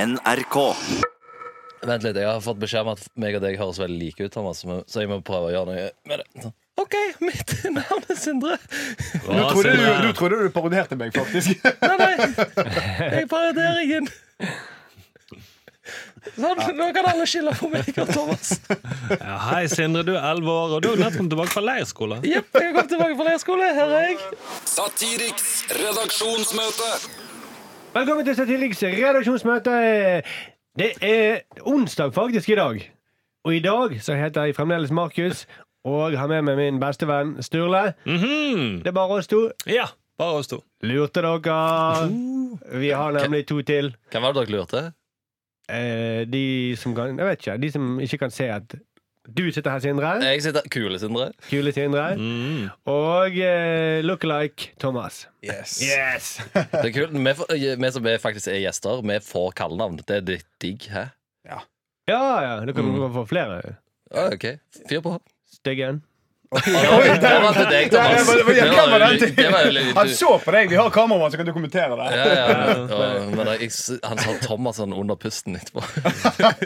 NRK. Vent litt, jeg har fått beskjed om at meg og deg høres veldig like ut, Thomas, men- så jeg må prøve å gjøre noe med det. Sånn. OK, mitt navn er Sindre. Nå Hva, trodde du, Sindre? du trodde du parodierte meg, faktisk. Nei, nei, jeg parodierer ingen. Sånn, nå kan alle skille på meg og Thomas. Ja, hei, Sindre. Du er 11 år, og du er nettopp kommet tilbake fra leirskole. Jepp, jeg kom tilbake fra leirskole. Her er jeg. Satiriks redaksjonsmøte. Velkommen til Satiriks redaksjonsmøte. Det er onsdag faktisk i dag. Og i dag så heter jeg fremdeles Markus og har med meg min bestevenn Sturle. Mhm. Det er bare oss to. Ja, bare oss to. Lurte dere? Uh-huh. Vi har nemlig to til. Hvem var det dere lurte? Eh, de som kan Jeg vet ikke. De som ikke kan se at du sitter her, Sindre. Jeg sitter Kule, Sindre. Kule Sindre. Eh. Mm. Og eh, look-alike Thomas. Yes. Yes! Det er kult. Vi, får- vi som er faktisk er gjester, vi får kallenavn. Det er ditt digg, hæ? Ja, ja. Dere kan få flere. Ja, OK. Fyr på. Styggen. Det var til deg, Thomas. Det var- det var- Det var jo det litt- det var jo var- litt- Han så på deg. Vi har kameramann som kan dokumentere det. Ja, ja, og, men jeg, han sa Thomas sånn under pusten etterpå.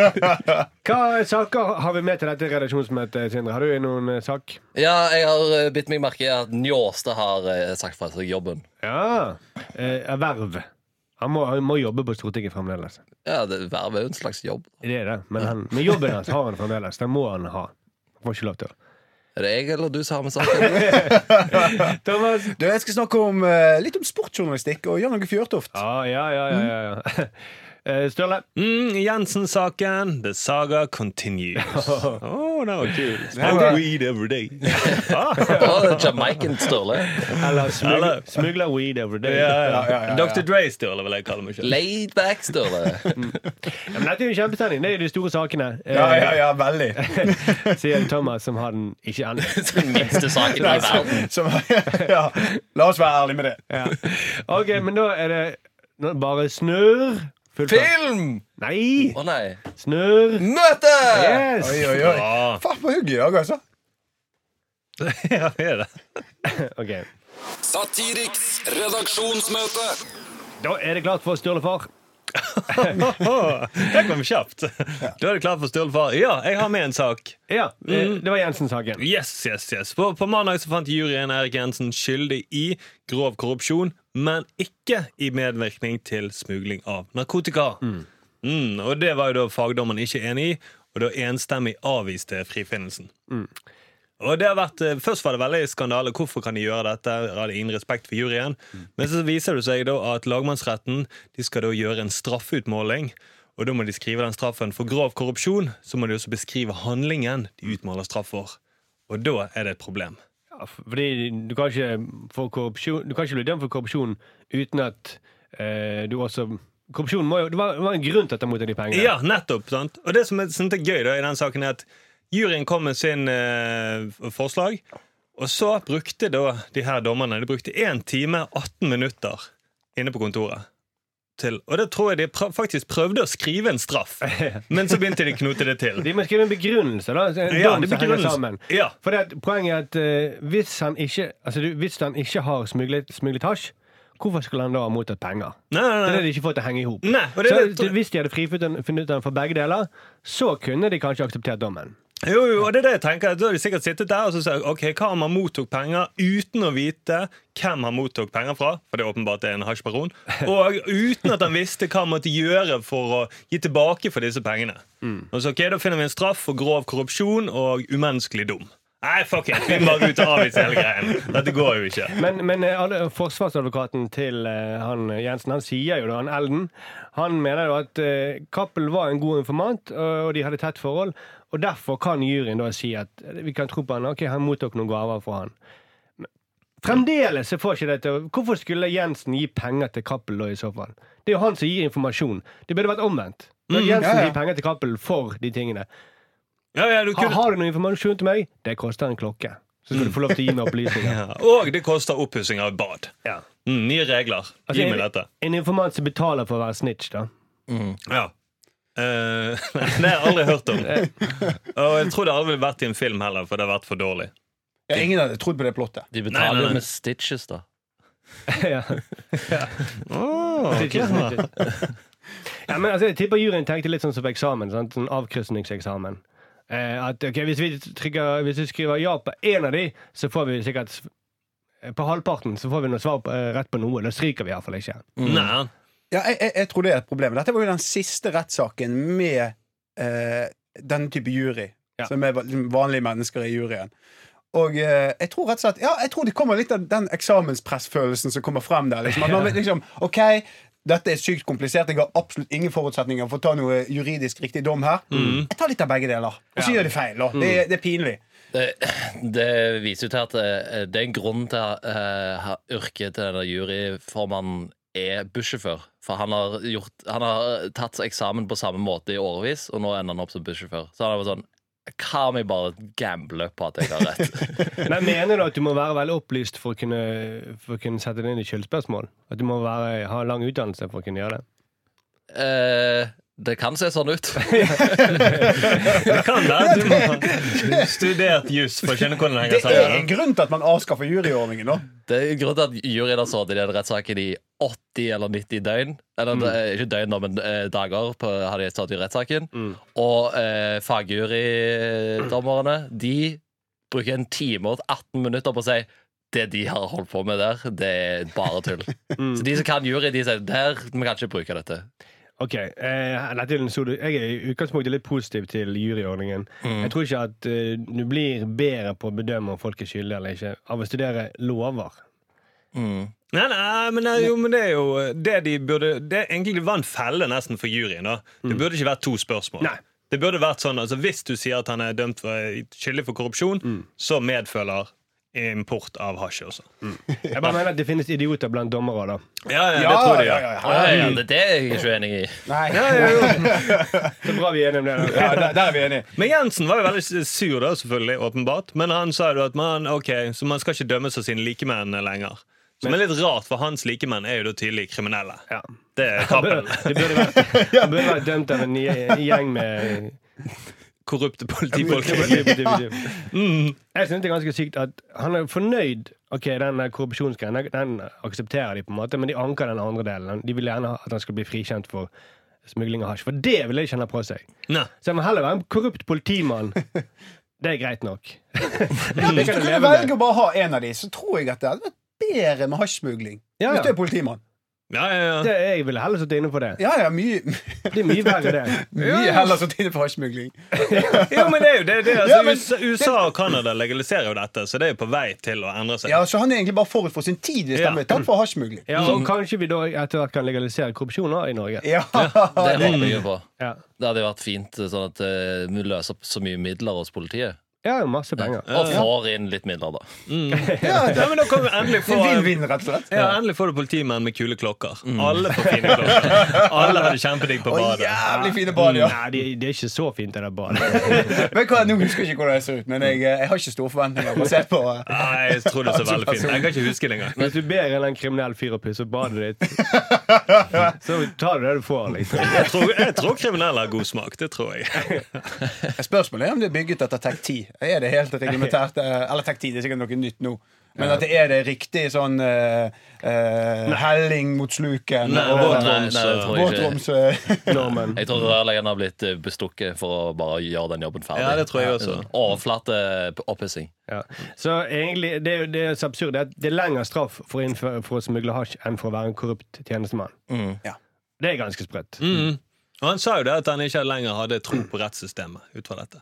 Hva saker har vi med til dette redaksjonsmøtet, Sindre? Har du noen eh, sak? Ja, jeg har eh, bitt meg merke i at Njåstad har eh, sagt fra seg jobben. Ja. Eh, erverv. Han må, han må jobbe på Stortinget fremdeles. Ja, det Verv er jo en slags jobb. Det er det. Men, han, men jobben hans har han fremdeles. Den må han ha. Han får ikke lov til. Er det jeg eller du som har med saken? Thomas? Du, Jeg skal snakke om, eh, litt om sportsjournalistikk og Jan Åge Fjørtoft. Ja, ja, ja. ja, ja, ja. Eh, Sturle? Mm, Jensen-saken. The saga continues. Å, den var kul. var- Smoke weed every day. Og Jamaican Sturle. Eller smugler, Eller- smugler weed every day. Ja, ja, ja. Dr. Dre-stjåle, vil jeg kalle meg selv. Laid back Sturle. Ja, men dette er jo kjempestemning. Det er jo de store sakene, eh, Ja, ja, ja, veldig. sier Thomas, som har den ikke ennå. Den minste saken i verden. Som, ja. La oss være ærlige med det. Ja. OK, men da er det nå bare snurr. Full fart. Film! Nei! Å nei. Snurr. Møte! Yes! Oi, oi, oi. Ja, Faen, på hugget i dag, altså. ja, det er det. Ok. Satiriks redaksjonsmøte. Da er det klart for Sturle far. Åh, Det kom kjapt. Da er det klart for Stølfar. Ja, jeg har med en sak. Ja, Mm. eh, det var Jensen-saken. Yes, yes, yes. På, på mandag så fant juryen Erik Jensen skyldig i grov korrupsjon, men ikke i medvirkning til smugling av narkotika. Mm, og det var jo da fagdommeren ikke enig i, og da enstemmig avviste frifinnelsen. Og det har vært, eh, Først var det veldig skandale. Hvorfor kan de gjøre dette? Har de ingen respekt for juryen? Men så viser det seg da at lagmannsretten de skal da gjøre en straffeutmåling. Og da må de skrive den straffen for grov korrupsjon. Så må de også beskrive handlingen de utmåler straff for. Og da er det et problem. Ja, Fordi du kan ikke, få korrupsjon, du kan ikke bli dømt for korrupsjon uten at eh, du også Korrupsjon må jo Det var, det var en grunn til at han mottok de pengene. Ja, nettopp. sant? Og det som jeg synes er gøy da, i den saken, er at juryen kom med sin eh, forslag. Og så brukte da de her dommerne de brukte 1 time 18 minutter inne på kontoret. Til. Og det tror jeg de pra faktisk prøvde å skrive en straff, men så begynte de å knote det til. De må skrive en begrunnelse, da. En Ja, dom det som henger begrunnelse. sammen. Ja. For det at, poenget er at eh, hvis, han ikke, altså, du, hvis han ikke har smuglet, smuglet hasj, hvorfor skulle han da ha mottatt penger? Nei, Det nei, har nei. de ikke fått til å henge i hop. Nei, og det er det- Så Hvis de hadde frifunnet den- funnet den for begge deler, så kunne de kanskje akseptert dommen. Jo, jo, og det er det jeg tenker. Da har de sikkert sittet der og så sagt ok, hva om han mottok penger uten å vite hvem han mottok penger fra, for det er åpenbart det er en hasjbaron, og uten at han visste hva han måtte gjøre for å gi tilbake for disse pengene. Og så ok, Da finner vi en straff for grov korrupsjon og umenneskelig dum. Nei, fuck it! Vi må bare gå ut og avvise hele greien. Dette går jo ikke. Men, men eh, alle- forsvarsadvokaten til eh, han Jensen, han sier jo det, han Elden, han mener jo at eh, Cappelen var en god informant, og og de hadde tett forhold, og derfor kan juryen da si at eh, vi kan tro på han, ok, han mottok noen gaver fra han. Men Fremdeles så får ikke det til å- Hvorfor skulle Jensen gi penger til Cappelen da, i så fall? Det er jo han som gir informasjon. Det burde vært omvendt. Mm, Når Jensen ja, ja. gir penger til Cappelen for de tingene. Ja, ja, du Ha, kunne... har du noe informasjon til meg? Det koster en klokke. Så skal du få lov til å gi meg opplysninger. ja. Og det koster oppussing av bad. Ja. Mm, nye regler. Altså, Gi jeg- meg dette. En informant som betaler for å være snitch, da. Ja. Eh, nei, det har jeg aldri hørt om. Og jeg tror det aldri ville vært i en film heller, for det har vært for dårlig. Ja, ingen hadde trodd på det plottet. De Nei, nei, betaler nei. jo med stitches, da. ja. Oh, Snitches, snitches. Ja, men altså, jeg tipper juryen tenkte litt sånn som på eksamen. Sant? Sånn avkrysningseksamen. Eh, at ok, hvis vi, trykker, hvis vi skriver ja på én av de, så får vi sikkert eh, På halvparten så får vi noe svar på, eh, rett på noe. Da stryker vi iallfall ikke. Mm. Nei. Ja, jeg, jeg, jeg tror det er et problem. Dette var jo den siste rettssaken med eh, denne type jury, Ja. som er va- vanlige mennesker i juryen. Og eh, jeg tror rett og slett Ja, jeg tror det kommer litt av den eksamenspressfølelsen som kommer frem der. Liksom. At man vet liksom, ok, dette er sykt komplisert, jeg har absolutt ingen forutsetninger for å ta noe juridisk riktig dom her. Jeg tar litt av begge deler, og så gjør de feil. Da. Det, det er pinlig. Det, det viser jo til at eh, det er en grunn til at eh, ha- yrket til denne juryformannen er bussjåfør. For han har, gjort, han har tatt eksamen på samme måte i årevis, og nå ender han opp som bussjåfør. Så han er bare sånn Hva om jeg bare gambler på at jeg har rett? Men mener du at du må være veldig opplyst for å kunne, for å kunne sette det inn i skyldspørsmål? At du må være, ha lang utdannelse for å kunne gjøre det? Eh, det kan se sånn ut. Det kan være du må ha studert juss for å skjønne hvordan det Det henger er en sammen. grunn til at man avskaffer juryordningen nå. Det er grunnen til at juryen har sittet i den rettssaken i 80 eller 90 døgn. Eller eh, ikke døgn, da, men eh, dager på, har de sittet i rettssaken. Og eh, fagjurydommerne de bruker en time og 18 minutter på å si det de har holdt på med der, det er bare tull. Mm. Så de som kan jury, de sier der, vi kan ikke bruke dette. Ok, eh, dette er en stor- Jeg er i utgangspunktet litt positiv til juryordningen. Mm. Jeg tror ikke at eh, du blir bedre på å bedømme om folk er skyldige eller ikke av å studere lover. Nei, nei, men, det- jo, men det er jo det de burde det, er Egentlig det var en felle nesten for juryen. da Mm. Det burde ikke vært to spørsmål. Nei. Det burde vært sånn, altså Hvis du sier at han er dømt for, skyldig for korrupsjon, Mm. så medfølger import av hasj også. Mm. Jeg bare mener at det finnes idioter blant dommere. da Ja, ja, det tror jeg de gjør. ja, Ja, ja, det, det er jeg ikke uenig i. Nei, Så bra vi er enige om det. da. ja, der, der er vi enige. Men Jensen var jo veldig sur, da, selvfølgelig, åpenbart. Men han sa jo at man, ok, så man skal ikke dømmes av sine likemenn lenger. Som er litt rart, for hans likemenn er jo da tydelig kriminelle. Ja. Det er Det kappen. burde, det burde vært, det burde vært dømt av en gje- gjeng med Korrupte Folk- politifolk. Mm. Jeg synes det er ganske sykt at han er fornøyd. Ok, den der korrupsjonsgreien den- den aksepterer de, på en måte men de anker den andre delen. De vil gjerne at han skal bli frikjent for smugling av hasj. For det vil jeg ikke han ha på seg. Nei. Så jeg må heller være en korrupt politimann. Det er greit nok. Ja, hvis du kan jeg kunne leve med. velge å bare ha en av de, så tror jeg at det hadde vært bedre med hasjsmugling. Ja, ja. Hvis du er politimann. Ja, ja, ja. Det, jeg ville heller sittet inne for det. Ja, ja, mye, Det er mye verre, det. mye heller så tidlig for hasjsmugling. Jo, men det er jo det. det er, altså, Ja, men- USA, USA og Canada legaliserer jo dette, så det er jo på vei til å endre seg. Ja, så han er egentlig bare forut for sin tid hvis Ja. han ble tatt for hasjsmugling. Ja, og kanskje vi da etter hvert kan legalisere korrupsjon også i Norge. Ja, Det det, håper jeg jo på. Ja, Det hadde jo vært fint, sånn at eh, vi løser opp så mye midler hos politiet. ja masse penger. Og får inn litt midler, da. Mm. Ja, men da kan vi Mm. endelig få det er vinn-vinn, rett og slett. ja, endelig får du politimenn med kule klokker. Alle får fine klokker. Alle hadde kjempedigg på Og badet. jævlig fine bad, ja. Nei, det, det er ikke så fint, det der badet. Men hva, nå husker jeg ikke hvordan jeg ser ut, men jeg, eh, jeg har ikke store forventninger. Basert på eh, Nei, jeg tror det ser veldig fint Jeg kan ikke huske det engang. Hvis du ber en eller annen kriminell fyr å pusse opp badet ditt, så tar du det du får. liksom Jeg tror, jeg tror kriminelle har god smak. Det tror jeg. Spørsmålet er om det er bygget etter TEK 10. Er det helt reglementert? eh, Eller TEK 10, det er sikkert noe nytt nå. Men at det er det riktig sånn eh, eh, helling mot sluken Nei, og våtroms- Nei, nei, det tror jeg ikke. våtroms... eh, Norman. Jeg tror rørleggeren har blitt eh, bestukket for å bare gjøre den jobben ferdig. Ja, det tror jeg også. En sånn eh, Overflateoppussing. Ja. Så egentlig, det, er jo- det er så absurd det er at det er lengre straff for å, innføre, for å smugle hasj enn for å være en korrupt tjenestemann. Ja. Det er ganske sprøtt. Mm. Og han sa jo det at han ikke lenger hadde tro på rettssystemet ut fra dette.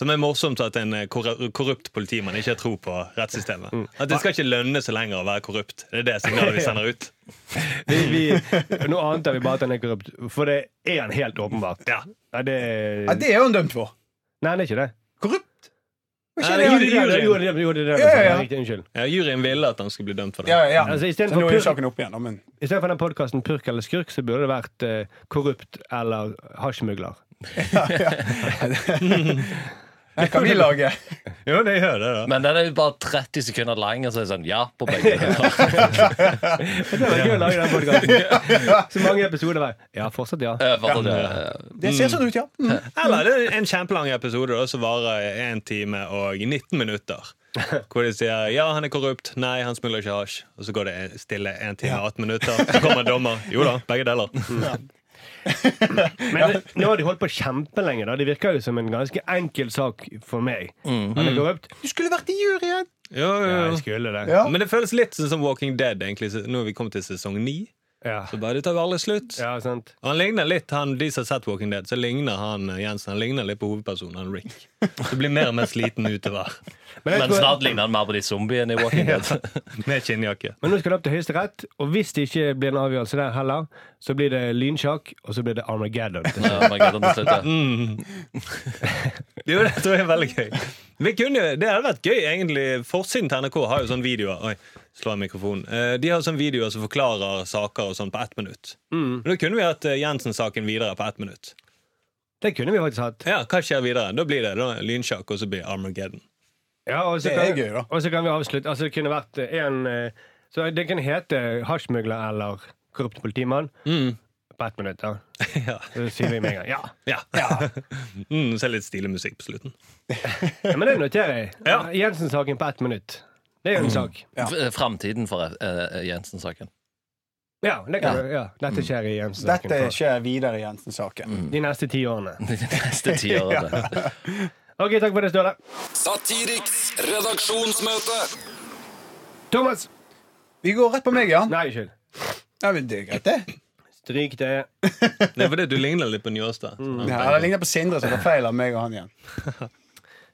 Som er morsomt at en eh, korru- korrupt politimann ikke har tro på rettssystemet. Mm. At det skal ikke lønne seg lenger å være korrupt. Det er det signalet vi sender ut. Vi, vi, nå antar vi bare at han er korrupt, for det er han helt åpenbart. Ja. Nei, det, Ja, det er hun dømt for. nei, det er ikke det. Korrupt. Hva Nei, skjer? det er Jo, det, juryen. er det, jo, det, er det, jo, det, er det, Ja, ja, ja. Riktig, unnskyld. Ja, juryen ville at han skulle bli dømt for det. Ja, ja. Altså, i Så stedet nå for er jo purk- saken opp igjen, da, men I stedet for den podkasten 'Purk eller skurk', så burde det vært eh, 'Korrupt eller hasjmugler'. Nei, kan vi lage Jo, det gjør det, da. Men den er jo bare 30 sekunder lang, og så er det sånn ja på begge. deler. Det var gøy å lage den podkasten. Så mange episoder var Ja, fortsatt ja. Eh, for at det- Det ser sånn ut, ja. Mm. Eller det er en kjempelang episode da, som varer 1 time og 19 minutter. Hvor de sier ja, han er korrupt, nei, han smugler ikke hasj. Og så går det stille 1 time og 18 minutter. Så kommer en dommer. Jo da, begge deler. Men det- nå har de holdt på kjempelenge. da Det virker jo som en ganske enkel sak for meg. Hadde jeg gått opp Du skulle vært i juryen! Jo, jo, Ja, jo. jeg skulle det. Ja. Men det føles litt sånn som Walking Dead. egentlig Nå er vi kommet til sesong ni. Ja. Så bare det tar jo aldri slutt. ja, sant Og Han ligner litt, han, De som har sett Walking Dead, så ligner han eh, Jensen han ligner litt på hovedpersonen han Rick. Du blir mer og mer sliten utover Men, jeg Men tror, snart ligner han mer på de zombiene i Walking Dead. med skinnjakke. men nå skal det opp til Høyesterett, og hvis det ikke blir en avgjørelse der heller, så blir det lynsjakk, og så blir det Armageddon. til slutt. Ja, man gleder seg til Mm. det. Jo, det tror jeg er veldig gøy. Vi kunne, jo- det hadde vært gøy, egentlig. Forsiden til NRK har jo sånne videoer. Oi, slår jeg mikrofonen. Eh, De har sånne videoer som forklarer saker og sånn på ett minutt. Men Da kunne vi hatt eh, Jensen-saken videre på ett minutt. Det kunne vi faktisk hatt. Ja, Hva skjer videre? Da blir det da lynsjakk, og så blir Armageddon. Ja, og så Det kan- er gøy, da. Og så kan vi avslutte. Altså, det kunne vært eh, en eh, Så det kunne hete hasjmugler eller korrupt politimann. Mm. På ett minutt, da. Ja. Så sier vi med en gang. Ja. ja. Mm, så er det litt stilig musikk på slutten. ja men det noterer jeg. Ja. Jensen-saken på ett minutt. Det Mm. er jo en sak. F- Framtiden for eh, Jensen-saken. Ja, det kan du. Ja. Dette skjer i Jensen-saken. Dette på skjer videre i Jensen-saken. De neste ti årene. De neste ti årene. OK, takk for det, Ståle. Satiriks redaksjonsmøte. Thomas! Vi går rett på meg, ja. Nei, unnskyld. ja men det er greit, det. Stryk det. Det er fordi du ligner litt på Njåstad. Sånn. Ja, det ligner på Sindre, så det er feil av meg og han igjen.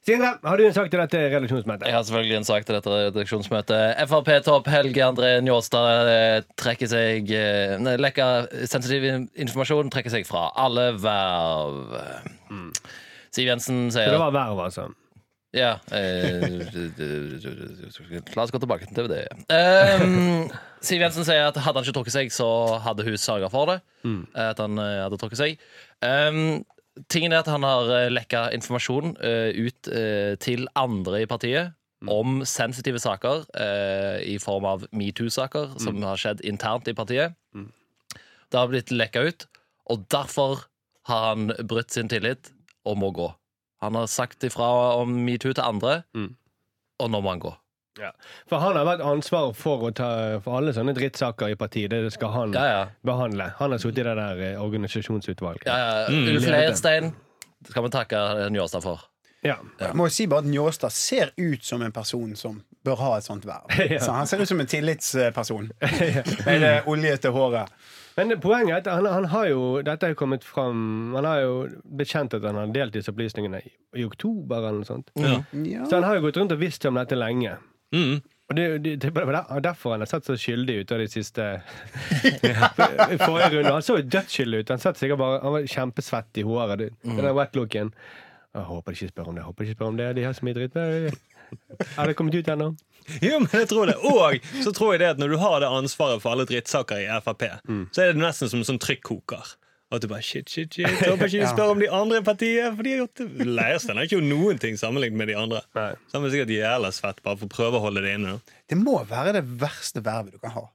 Sindre, har du en sak til dette redaksjonsmøtet? Jeg har selvfølgelig en sak til dette redaksjonsmøtet. Frp-topp Helge André Njåstad eh, trekker seg eh, nei, Lekker sensitiv in- informasjon, trekker seg fra alle verv. Siv Jensen Så det sier var verv, altså. Ja. eh, La oss gå tilbake til det. Ehm, Siv Jensen sier at hadde han ikke trukket seg, så hadde hun sørga for det. At han eh, hadde trukket seg. Ehm, tingen er at han har eh, lekka informasjon eh, ut eh, til andre i partiet. Om sensitive saker eh, i form av metoo-saker som har skjedd internt i partiet. Det har blitt lekka ut, og derfor har han brutt sin tillit og må gå. Han har sagt ifra om metoo til andre, Mm. og nå må han gå. Ja. For han har vært ansvar for å ta for alle sånne drittsaker i partiet. Det skal han Ja, ja. behandle. Han har sittet i det der eh, organisasjonsutvalget. ja, ja. Ulf Leirstein det skal vi takke Njåstad for. Ja. Jeg må jo si bare at Njåstad ser ut som en person som bør ha et sånt verv. Ja. Så han ser ut som en tillitsperson. Med det oljete håret. Men det- poenget er at han, han har jo Dette har jo kommet fram Han har jo blitt kjent at han har delt disse opplysningene i, i oktober eller noe sånt. Ja. Ja. Så han har jo gått rundt og visst om dette lenge. Mm. Og det, det, det var der- derfor han har sett så skyldig ut av de siste For- Forrige runde. Han så jo dødsskyldig ut. Han, satt sikkert bare, han var kjempesvett i håret. Det, Mm. Den der wetlooken. Jeg håper de ikke spør om det. Jeg håper de ikke spør om det. De har så mye dritt. Er det kommet ut ennå? Jo, men jeg tror det. Og så tror jeg det at når du har det ansvaret for alle drittsaker i Frp, så er det nesten som en sånn trykkoker. At du bare shit, shit, shit. Jeg håper ikke de spør om de andre i partiet. For de har gjort det. Leirstein har ikke gjort noen ting sammenlignet med de andre. Nei. Så han er sikkert jævla svett bare for å prøve å holde det inne. da. Det må være det verste vervet du kan ha.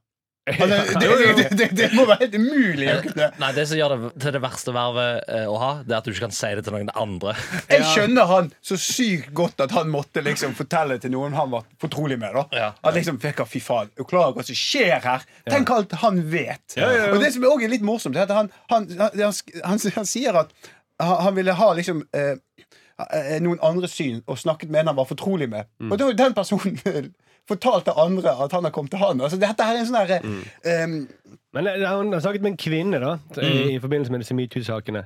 Altså, det, det, det, det må være helt umulig. å kunne- Nei, Det som gjør det til det verste vervet eh, å ha, det er at du ikke kan si det til noen andre. Jeg skjønner han så sykt godt at han måtte liksom fortelle til noen han var fortrolig med. da Ja. At liksom, fikk han, Fy faen, jeg klarer ikke hva som skjer her. Tenk alt han vet. Ja, ja, ja. Og det som også er litt morsomt, det er at han, han, han, han, han, han sier at han, han ville ha liksom eh, eh, noen andre syn og snakket med en han var fortrolig med. Og da har jo den personen fortalt til andre at han har kommet til han. Altså, dette her er en sånn herre Men det- det- han har snakket med en kvinne da i, i forbindelse med disse metoo-sakene.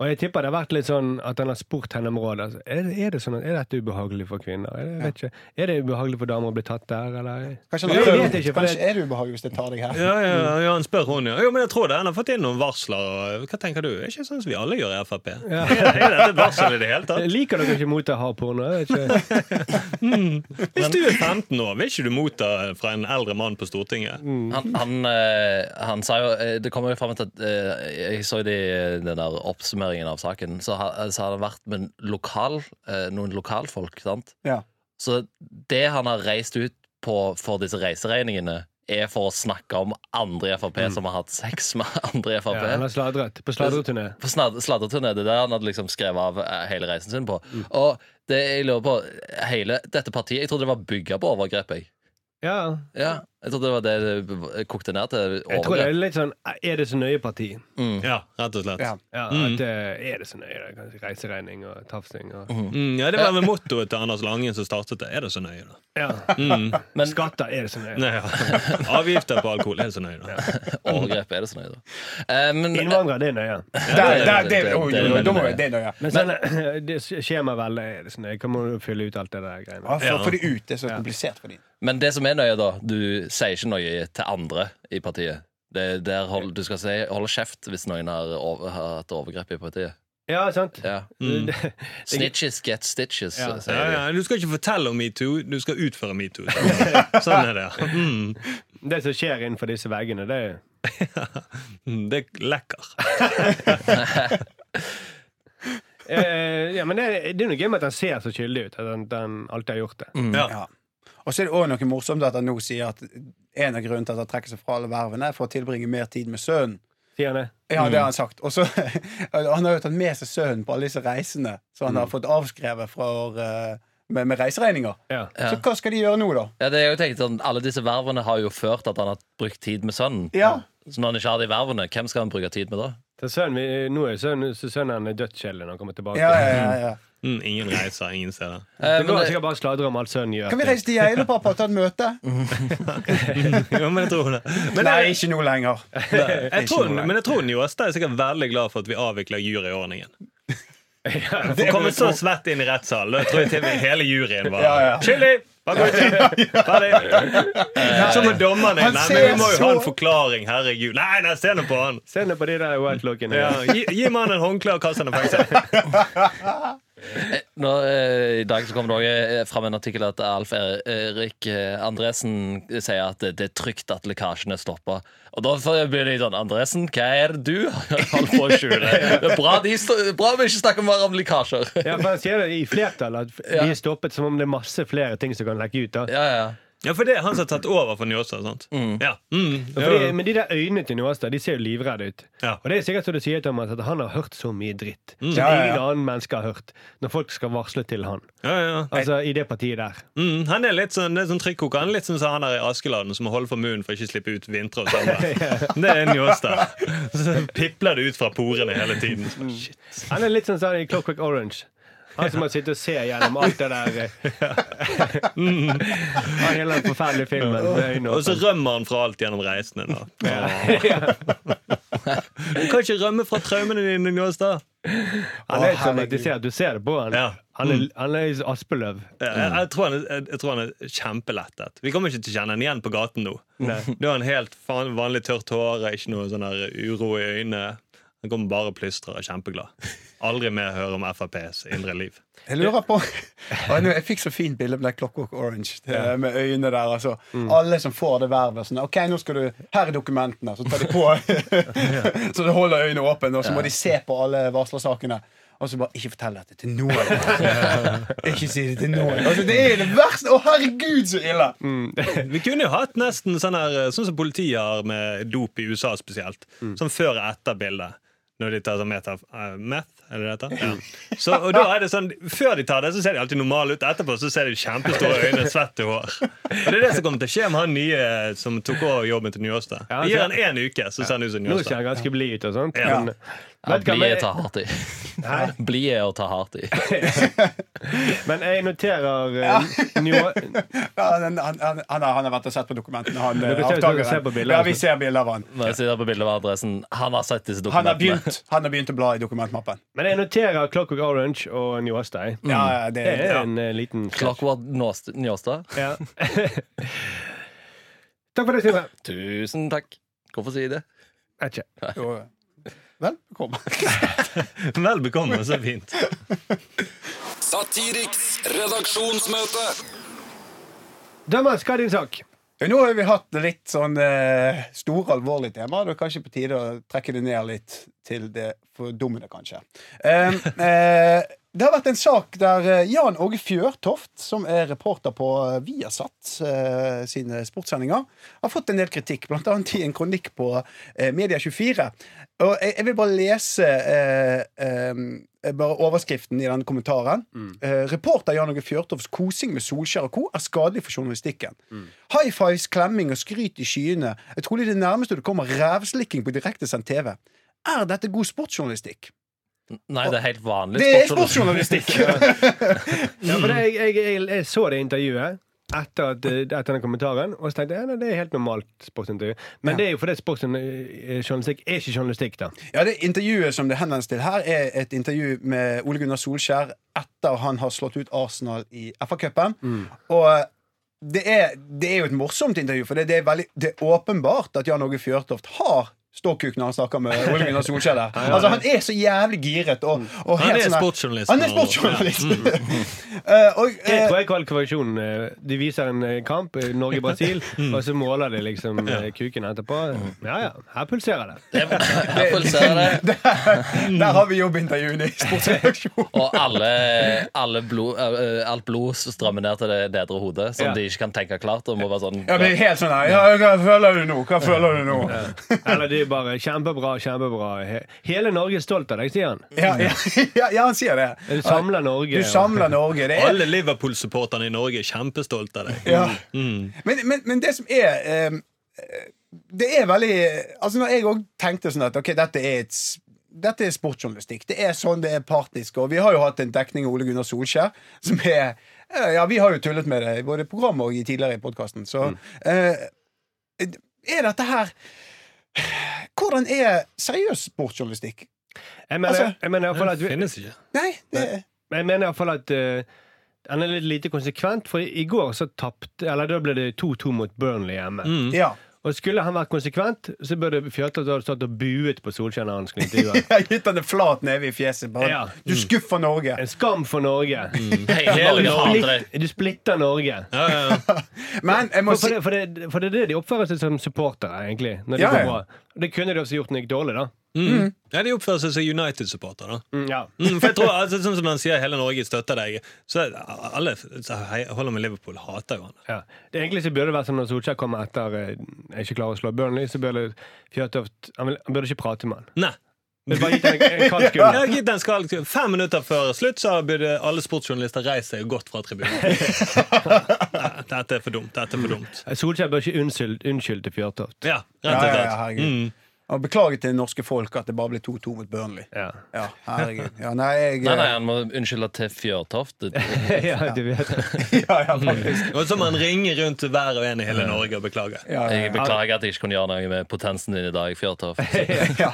Og jeg tipper det har vært litt sånn at han har spurt henne om råd. Altså, er, det- er, det sånn, at- er dette ubehagelig for kvinner? Er det, jeg vet ikke. er det ubehagelig for damer å bli tatt der, eller? Kanskje, Ja, han jeg har vet ikke, for kanskje det- er det ubehagelig hvis jeg tar deg her. Ja, ja, Mm. ja, han spør hun, ja. Jo, men jeg tror det. Han har fått inn noen varsler. Og, hva tenker du? Er ikke sånn som vi alle gjør i Frp? Er er dette et varsel i det hele tatt? Liker dere ikke motta hard porno? Jeg vet ikke. Hvis du er 15 år, vil ikke du motta fra en eldre mann på Stortinget? Han, han, eh, han sa jo eh, Det kommer jo fram til at eh, Jeg så det i den der oppsummeringen av saken. Så har, så har det vært med lokal, eh, noen lokalfolk. sant? Ja. Så det han har reist ut på for disse reiseregningene, er for å snakke om andre i Frp som har hatt sex med andre i Frp. Mm. Ja, han har sladret. På sladreturné. på snad- sladreturné, det er der han hadde liksom skrevet av eh, hele reisen sin på. Mm. Og det jeg lurer på, hele dette partiet Jeg trodde det var bygga på overgrep, jeg. Ja. Ja, Jeg trodde det var det det kokte ned til. Jeg tror det er litt sånn Er det så nøye-parti? Ja, rett og slett. Ja. Ja, Ja, at, eh, er det så nøye? da? Kanskje reiseregning og tafsing og mm, ja Det var vel mottoet til Anders Langen som startet det. Er det så nøye, da? ja. Men- Skatter, er det så nøye? Nei, ja. Avgifter på alkohol, er det så nøye, da? Overgrep er det så nøye, da. Eh, men, Innvandrere, det er nøye. Der, der, det, det- oi, det- oi, oi, det- da må det- vi- det da, ja. Men sånn, det skjema vel er det så nøye? Hva må du fylle ut alt det der Ja, greiene? Få få det ut. Det er så komplisert for dem. eh, men det som er nøye, da Du sier ikke noe til andre i partiet. Det, der hold, du skal si, holde kjeft hvis noen har, over, har hatt overgrep i partiet. Ja, sant? Ja. Mm. Snitches get stitches, Ja. sier Ja, de. ja. Du skal ikke fortelle om metoo, du skal utføre metoo. Sånn- Sånn er det. ja. Mm. Det som skjer innenfor disse veggene, det er Mm, Det er lekker. eh, Ja, men det, det er noe gøy med at han ser så skyldig ut. At han, han alltid har gjort det. Ja. Ja. Og så er det også noe morsomt at han nå sier at en av grunnen til at han trekker seg fra alle vervene, er for å tilbringe mer tid med sønnen. Sier han det? Ja, det har Mm. han sagt. Og så, han har jo tatt med seg sønnen på alle disse reisene, så Mm. han har fått avskrevet fra, eh, med, med reiseregninger. Ja. Så hva skal de gjøre nå, da? Ja, det er jo tenkt sånn, Alle disse vervene har jo ført at han har brukt tid med sønnen. Ja. Så når han ikke har de vervene, hvem skal han bruke tid med da? Så sønnen, vi- nå er sønnen, så sønnen er dødsskjellig når han kommer tilbake. Ja, ja, ja, ja. Mm, ingen reiser, ingen steder. Eh, Det men går det, sikkert bare å sladre om alt sønnen gjør. Kan vi reise til Geilo, pappa, og ta et møte? Ja, men jeg tror det. Men Nei, jeg, ikke nå lenger. jeg tror, noe. men jeg tror Njåstad er sikkert veldig glad for at vi avvikler juryordningen. vil For å komme jeg så tro. svett inn i rettssalen, da tror jeg til og med hele juryen var Ja, ja. Chili! Bare gå ut! Ferdig! Så må dommerne Han Nei, men vi ser må jo så- ha en forklaring, herregud. Nei, nei, se nå på han! Se nå på de der whitelockene. Ja, gi, gi mannen en håndkle og kast ham i fengsel. eh, nå, eh, I dag så kom det også fram en artikkel at Alf Erik eh, Andresen sier at eh, det, det er trygt at lekkasjene stopper. Og da får jeg begynne sånn Andresen, hva er det du holder på å skjule? Det er Bra, de, sto- bra vi ikke snakker mer om lekkasjer. Ja, for Han sier det i flertall, at de er stoppet som om det er masse flere ting som kan lekke ut. da Ja, ja. Ja, for det er han som har tatt over for Njåstad, sant? Ja. Mm. Ja, Fordi, men de der øynene til Njåstad de ser jo livredde ut. Ja. Mm. Og det er sikkert som du sier, Thomas, at han har hørt så mye dritt som Ja, ja, ja. ingen annen menneske har hørt, når folk skal varsle til han. Ja, ja. Altså i det partiet der. Mm, han er litt sånn, det er sånn trykkoker. Han er litt sånn som han der i Askeladden som må holde for munnen for ikke å slippe ut vintre og sommer. Det er Njåstad. Så pipler det ut fra porene hele tiden. Så bare, Shit. Han er litt sånn sånn i Clockwork Orange. Han som har sittet og ser gjennom alt det der eh, Av hele den forferdelige filmen med øynene Og så åpne. rømmer han fra alt gjennom reisene. Da. Du kan ikke rømme fra traumene dine, Njåstad. Han er Å, helt traumatisert. Du ser det på han. Ja. Mm. Han er, han er Aspeløv. Jeg, jeg, tror han er, jeg, jeg tror han er kjempelettet. Vi kommer ikke til å kjenne han igjen på gaten nå. Nei. Da er han helt faen vanlig tørt hår, ikke noe sånn der uro i øynene. Han kommer bare og plystrer og er kjempeglad. Aldri mer høre om FrPs indre liv. Jeg lurer på Å, nå, Jeg fikk så fint bilde med det Clockwork Orange det, med øynene der. Altså. Mm. Alle som får det vervet. Sånn, ok, nå skal du Her er dokumentene. Så tar de på Så du holder øynene åpne, og så må de se på alle varslersakene. Og så bare Ikke fortell dette til noen. ikke si det til noen. Altså, det er det verste! Å, herregud, så ille! Mm. Vi kunne jo hatt nesten sånn her Sånn som politiet har med dop i USA spesielt. Mm. Sånn før og etter bildet. Når de tar sånn meta, eh, meth, er det det heter? Ja. Så, og da er det sånn, Før de tar det, så ser de alltid normale ut. Etterpå så ser de kjempestore øyne, svett og hår. Og Det er det som kommer til å skje med han nye eh, som tok over jobben til Njåstad. Ja, Vi gir han én uke, så ser han ut som Nå ser Njåstad. han ganske blid ut og sånt. Ja. Men, ja Vet du hva, Blid er men- å ta hardt i. Blid er å ta hardt i. Men jeg noterer eh, Njå- Ja, han, han, han, han, har- han har vært og sett på dokumentene, han eh, vi ser- avtakeren. ser på bilder, Ja, altså. vi ser bilder av han. Når jeg sitter på bildet av Andresen, han har sett disse Han har dokumentene. begynt, han har begynt å bla i dokumentmappen. Men jeg noterer Clockwork Orange og Njåstad. Ja, ja, det, Mm. Det er Mm. ja. en eh, liten Clockwork Nåst- Njåstad. Ja. Takk for det, Sindre. Tusen takk. Hvorfor sier jeg det? Vet ikke. Jo. Vel, kom. Vel bekomme, så fint. Satiriks redaksjonsmøte. Dømmer, hva er din sak? Ja, Nå har vi hatt litt sånn eh, store, alvorlige temaer. Det er kanskje på tide å trekke det ned litt til det fordummede, kanskje. Ehm, Eh, eh, Det har vært en sak der eh, Jan Åge Fjørtoft, som er reporter på eh, Viasat eh, sine sportssendinger, har fått en del kritikk, blant annet i en kronikk på eh, Media24. Og jeg, jeg vil bare lese eh, eh, bare overskriften i denne kommentaren. Eh, reporter Jan Åge Fjørtofts kosing med Solskjær og co. er skadelig for journalistikken. High fives, klemming og skryt i skyene er trolig det nærmeste du kommer rævslikking på direktesendt TV. Er dette god sportsjournalistikk? Nei, det er helt vanlig. Det er sportsjournalistikk! Ja, for det, jeg, jeg, jeg, jeg så det intervjuet etter, at, eh, etter den kommentaren, og så tenkte jeg at det er helt normalt sportsintervju. Men det er jo fordi sportsjournalistikk er ikke journalistikk, da. Ja, det Intervjuet som det henvendes til her, er et intervju med Ole Gunnar Solskjær etter han har slått ut Arsenal i FA-cupen. Mm. Og eh, det er, det er jo et morsomt intervju, for det, det, er, veldig, det er åpenbart at Jan Åge Fjørtoft har ståkuk når han snakker med Ole Gunnar Solskjær der. Altså, han er så jævlig giret. Og, og Mm. Han helt er sånn her- sportsjournalist. Han er nå. Mm. sportsjournalist! Eh, og, Det eh, tror jeg er kvalifikasjonen. eh, De viser en eh, kamp, eh, Norge-Brasil, Mm. og så måler de liksom eh, kuken etterpå. Ja ja, her pulserer det. Jeg, jeg pulserer det. eh, der har vi jobbintervjuene i sportsredaksjonen. Og alle, alle blod, eh, alt blod strømmer ned til det nedre hodet, som Ja. de ikke kan tenke klart. Og må være sånn Ja, det er helt sånn her. Ja, hva føler du nå? Hva føler du nå? Eller de er bare kjempebra, kjempebra. He- Hele Norge er stolt av deg, sier han. Ja, ja, ja, ja han sier det. Du samler Norge. Du samler Norge. Det er, Alle Liverpool-supporterne i Norge er kjempestolte av deg. Mm. ja. men, men, men det som er eh, Det er veldig Altså Når jeg òg tenkte sånn at ok, dette er et s- dette er sportsjournalistikk. Det er sånn det er partisk. Og vi har jo hatt en dekning av Ole Gunnar Solskjær som er eh, Ja, vi har jo tullet med det i både programmet og i tidligere i podkasten, så eh, Er dette her Hvordan er seriøs sportsjournalistikk? Jeg mener, Altså, jeg mener i hvert fall at vi- Finnes ikke. Nei, det Altså- Jeg mener iallfall at eh, han er litt lite konsekvent, for i i går så tapte Eller da ble det 2-2 mot Burnley hjemme. Mm. Ja. Og skulle han vært konsekvent, så burde Fjørtoft ha stått og buet på Solskjær når han skulle intervjue. han. Jeg har gitt han en flat neve i fjeset. Bare, Ja. Du skuffer Norge. En skam for Norge! Mm. Hele Du Norge hater deg. splitt- Du splitter Norge. Ja, ja, ja. Men jeg må For, for, si det, for, det, for det er det de oppfører seg som supportere, egentlig. Når det Ja, ja. går bra. Og Det kunne de også gjort når det gikk dårlig, da. Mm. ja, de oppfører seg som United-supportere. da. Mm, ja. Mm, for jeg tror, altså, sånn som han sier, hele Norge støtter deg. Så alle som hei- holder med Liverpool, hater jo han. Ja. Det egentlig så burde det vært som når Solskjær kommer etter eh, jeg ikke klarer å slå Burnley, så burde Fjørtoft Han vil- han burde ikke prate med han. Nei. Det er bare gitt en, en kald skulder. Ja, gitt den skal, fem minutter før slutt så burde alle sportsjournalister reist seg og gått fra tribunen. Nei, Dette er for dumt. Dette er for dumt. Solskjær bør ikke unnskylde unnskyld til Fjørtoft. Ja, ja, rett og ja, ja, slett. herregud. Mm. Og beklager til det norske folk at det bare ble 2-2 mot Burnley. Ja. Ja, herregud. Ja, nei, jeg Nei, nei, han må unnskylde til Fjørtoft. ja, du vet Ja, ja, faktisk. Og så må han ringe rundt til hver og en i hele Norge og beklage. Ja, ja, Jeg beklager at jeg ikke kunne gjøre noe med potensen din i dag, Fjørtoft. ja.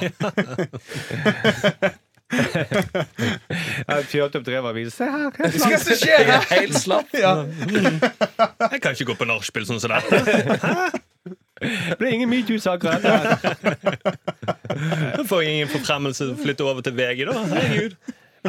At Fjørtoft drev avisen. Se her! her Hva som skjer her? Helt slapp. Ja. Jeg kan ikke gå på nachspiel sånn som dette. Det blir ingen metoo-saker heller. Da får jeg ingen forfremmelse og flytter over til VG, da. Herregud.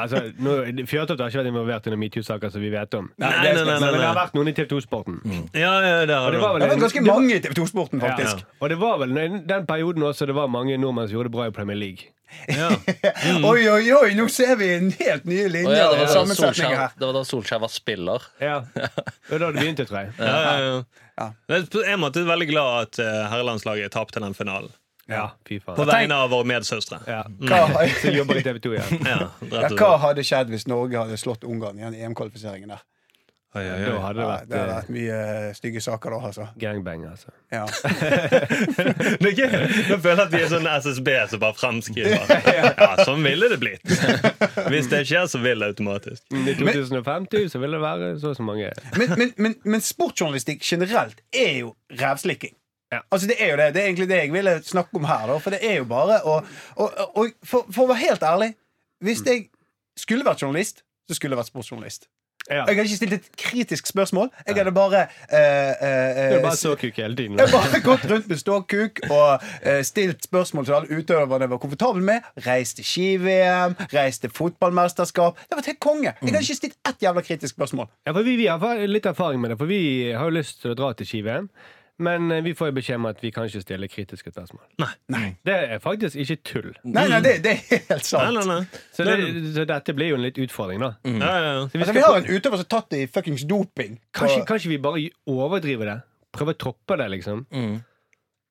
Altså, nå- Fjørtoft har ikke vært involvert i noen metoo-saker som vi vet om. Nei, nei, nei, nei, Men det har nei. vært noen i TV 2-sporten. Ja, ja, det har Og Mm. du. det var Det vel var ganske mange i TV 2-sporten, ja. faktisk. Og det var vel den den perioden også det var mange nordmenn som gjorde det bra i Premier League. Ja. Oi, oi, oi, nå ser vi en helt ny Å linje ja, det, og var da sammensetning Solskjær, her. det var da Solskjær var spiller. Ja. Og da det begynte, tror jeg. Ja, ja, ja. Ja. Jeg er på en måte veldig glad at eh, herrelandslaget tapte den finalen. Ja, fy På faen. vegne av våre medsøstre. Ja. Mm. Hva, Så jobber i TV 2 igjen. Ja, ja, rett og hva slett. hadde skjedd hvis Norge hadde slått Ungarn i den EM-kvalifiseringen der? Oi, oi, Da oi. hadde det Ja, vært det hadde eh, vært mye eh, stygge saker da, altså. gangbang, altså. Ja. Det er gøy. Jeg føler at vi er sånn SSB som bare fremskriver. Ja, sånn ville det blitt. Hvis det skjer, så vil det automatisk. I 2050 så ville det være så og så mange Men, men, men, men sportsjournalistikk generelt er jo rævslikking. Ja. Altså Det er jo det, det er egentlig det jeg ville snakke om her. Da, for det er jo bare å og, og, for, for å være helt ærlig, hvis jeg skulle vært journalist, så skulle jeg vært sportsjournalist. Ja. Jeg hadde ikke stilt et kritisk spørsmål. Jeg hadde bare eh, eh, Det er eh, bare såkuk hele tiden. jeg har bare gått rundt med ståkuk og eh, stilt spørsmål til alle utøverne jeg var komfortabel med. Reist til ski-VM, reist til fotballmesterskap. Det var helt konge. Mm. Jeg hadde ikke stilt ett jævla kritisk spørsmål. Ja, for vi, vi har fa- litt erfaring med det, for vi har jo lyst til å dra til ski-VM. Men eh, vi får jo beskjed om at vi kan ikke stille kritiske spørsmål. Nei. Det er faktisk ikke tull. Nei, nei, det, det er helt Nei, sant. nei, nei. Mm. Så, det, så dette blir jo en litt utfordring, da. Ja, ja, ja. Så vi Altså, skal vi har prø- en utøver som er tatt i fuckings doping. kanskje, Og- kanskje vi bare overdriver det? Prøve å toppe det, liksom?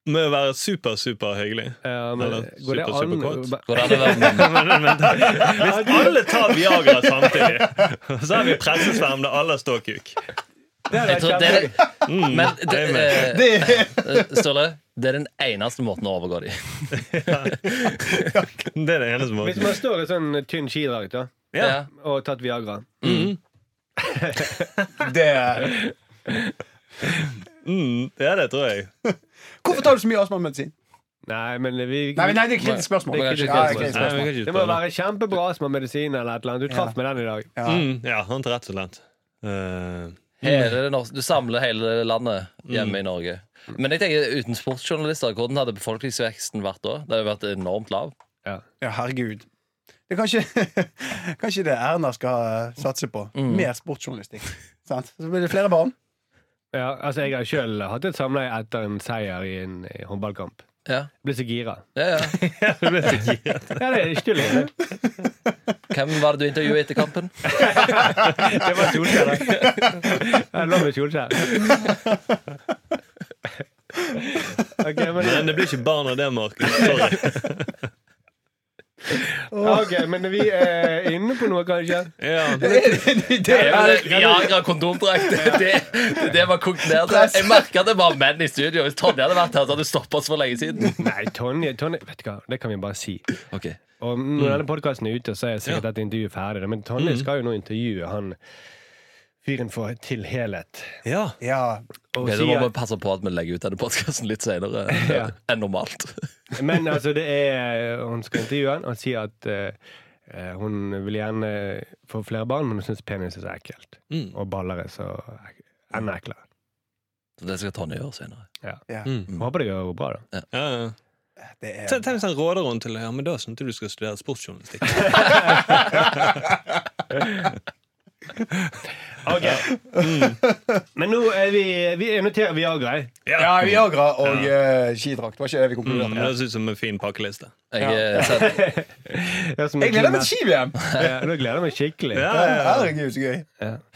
Med å være super, super hyggelig. Ja, men, Eller går det super, an? superkåt. Ba- Går det an å være Men, men, men, Hvis alle tar Viagra samtidig, så har vi pressesverm der alle står kuk. Jeg tror det er, men det, eh, det er Sturle, det er den eneste måten å overgå dem. Det er det eneste Hvis måten. man står i sånn tynn skidrakt da, Ja. Ja. og tatt Viagra det. Mm, ja, det tror jeg. Hvorfor tar du så mye astmamedisin? Nei, men vi, Nei, men nei, det er kritisk spørsmål. Det er kritisk Ja, det spørsmål. er Nei, kritisk vi spørsmål. kan ikke Det må spørre. være kjempebra astmamedisin eller et eller annet. Du traff med den i dag. Ja. Mm, ja, han tar rett og slett. Eh, Hele det norske, du samler hele landet hjemme i Norge. Men jeg tenker, uten sportsjournalister, hvordan hadde befolkningsveksten vært da? Det hadde vært enormt lav. Ja. Ja, herregud. Det er kanskje, kanskje det Erna skal eh, satse på. Mer sportsjournalistikk. Sant? Så blir det flere barn. Ja, altså Jeg har sjøl hatt et samleie etter en seier i en eh, håndballkamp. Ja, Jeg Ble så gira. ja, ja. Ja, det er ikke tull. egentlig. Hvem var det du intervjuet etter kampen? Det var Solskjær. da. Jeg lå med Solskjær. Ok, men, men det blir ikke barn av det, Markus. Sorry. ok, men vi er inne på noe, kanskje? Ja. Viagra kondomdrakt. Det, det, det var kokt ned til. Jeg merker at det var menn i studio. Hvis Tonje hadde vært her, så hadde du stoppet oss for lenge siden. Nei, Tonje, Tonje Vet du hva, det kan vi bare si. Ok. Og når Mm. denne podkasten er ute, så er sikkert dette intervjuet ferdig. da. Men Tonje skal jo nå intervjue han fyren for Til helhet. ja. Ja. Og Ok, si Da må vi at, passe på at vi legger ut denne podkasten litt senere Ja. enn normalt. men altså, det er Hun skal intervjue han og si at eh, eh, hun vil gjerne få flere barn, men hun syns penis er så ekkelt. Mm. Og baller er så ek- enda eklere. Så Det skal Tonje gjøre senere. mm. Jeg Håper det går bra, da. Ja, ja. Det er Tenk tenk hvis han råder henne til det. Ja, men da skjønte du skal studere sportsjournalistikk. Mm. Men nå er vi, vi er noterer Viagra. eh. jeg. Ja, Viagra og eh, skidrakt. Var ikke det vi Mm, konkluderte Det med? høres ut som en fin pakkeliste. Jeg, eh, sendte- Mm, Det er som Jeg en gleder meg klima- til ski-VM! Ja, Nå gleder jeg meg skikkelig. Ja, ja, ja. Herregud, så gøy.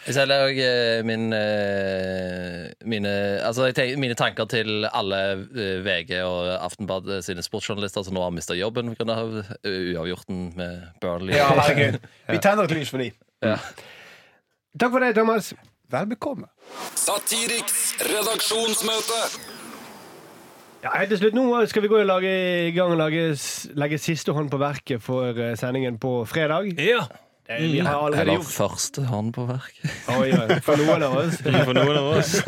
jeg selger òg eh, min, eh, mine, altså jeg tenker, mine tanker til alle eh, VG og Aftenbad sine sportsjournalister som nå har mista jobben pga. eh, uavgjorten med Burnley. Ja, herregud. Vi tenner et lys for de. Takk for det, Thomas. Vel bekomme. Satiriks redaksjonsmøte. Ja, helt til slutt nå skal vi gå og lage, i gang og lage, s- legge siste hånd på verket for eh, sendingen på fredag. ja. Eh, Vi har allerede Eller gjort første hånd på verk. Oi, oi, for noen av oss. For noen av oss.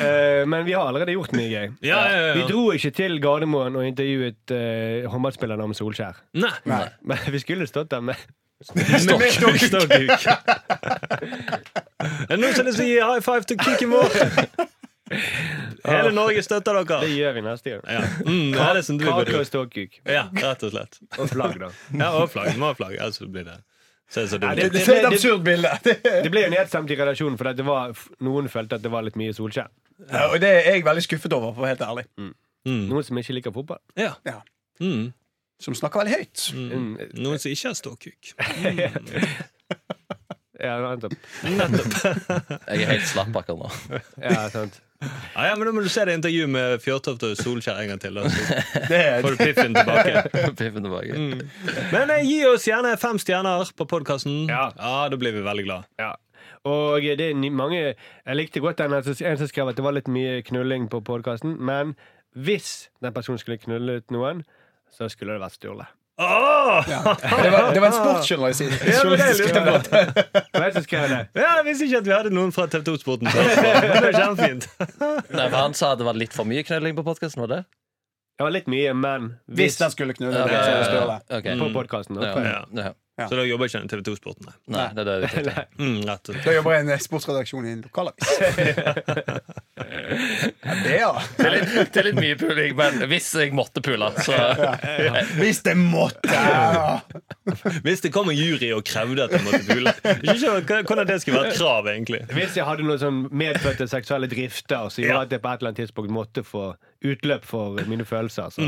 Eh, Men vi har allerede gjort mye gøy. Ja, ja, ja. Vi dro ikke til Gardermoen og intervjuet eh, håndballspillerne om Solskjær. Nei. Nei. Men vi skulle stått der med Stokk. Stokk. Nå skal jeg si high five til kuken vår. Hele Norge støtter Det dere. gjør vi neste gang. Ja, mm, ja det er som du Kake burde og ståkuk. Ja, rett og slett. Og flagg, da. Ja, og flagg. Må ha flagg, ellers blir det så er det så dumt. Ja, Det det- er et absurd bilde. Det ble jo nedstemt i redaksjonen, for at det var, f- noen følte at det var litt mye Solskjær. Ja, og det er jeg veldig skuffet over, for å være helt ærlig. Mm. Noen som ikke liker fotball. Ja. Ja. Mm. Som snakker veldig høyt. Mm. Noen som ikke har ståkuk. Ja, nettopp. Jeg er helt slapp akkurat nå. Ja, sant. Ja, ja, men Da må du se det intervjuet med Fjørtoft og Solskjær en gang til. Da, så Det er, får du piffen tilbake. Piffen tilbake. Men eh, gi oss gjerne fem stjerner på podkasten. Ja. Ja. da blir vi veldig glad. Ja. Og det er ni- mange Jeg likte godt den her som- en som skrev at det var litt mye knulling på podkasten. Men hvis den personen skulle knullet noen, så skulle det vært Sturle. Åh! det var, det var en sportsjournalist. Ja, men det er litt bra. Hvem som skrev det? ja, jeg visste ikke at vi hadde noen fra TV2-sporten. Men det er kjempefint. Nei, for Han sa at det var litt for mye knulling på podkasten, var det? Det var litt mye, men Hvis den skulle knulle Ok, deg, så er Mm. det Sturle. ok. på podkasten. Ja, Okay. Ja. ja. Ja. Så da jobber jeg ikke i TV 2-sporten. nei. Nei, det er det vi tenkte. Mm, rett og slett. Da jobber jeg i en eh, sportsredaksjon i en lokalavis. ja, det, ja. Det er litt, det er litt mye puling, men hvis jeg måtte pule, så Hvis det måtte! Ja. Hvis det kom en jury og krevde at jeg måtte pule Jeg skjønner ikke Hvordan det skulle være et krav, egentlig. Hvis jeg hadde noen sånn medfødte seksuelle drifter som gjorde at jeg på et eller annet tidspunkt måtte få utløp for mine følelser. Så.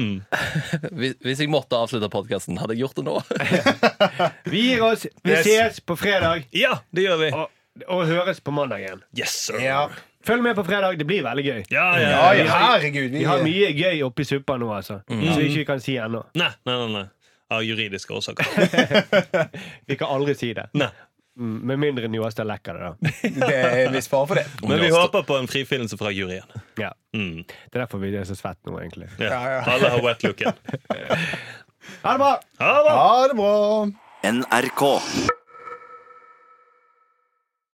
hvis hvis jeg måtte avslutte podkasten, hadde jeg gjort det nå. Vi gir oss. Vi Yes. ses på fredag, Ja, det gjør vi. og, og høres på mandag igjen. Yes, sir. Ja, Ja, Følg med på fredag. Det blir veldig gøy. ja, ja. ja, herregud. Vi har mye gøy oppi suppa nå, altså. Som vi ikke kan si ennå. Nei, nei, nei. nei. Av juridiske årsaker. Vi kan aldri si det. Nei. Mm, Med mindre Njåstad lekker det, da. det er en viss fare for det. Men vi håper på en frifinnelse fra juryen. Ja. Mm. Det er derfor vi er så svett nå, egentlig. Ja. Ja, ja. Alle har wet-looken. Ha det bra! Ha det! Ha det bra. NRK.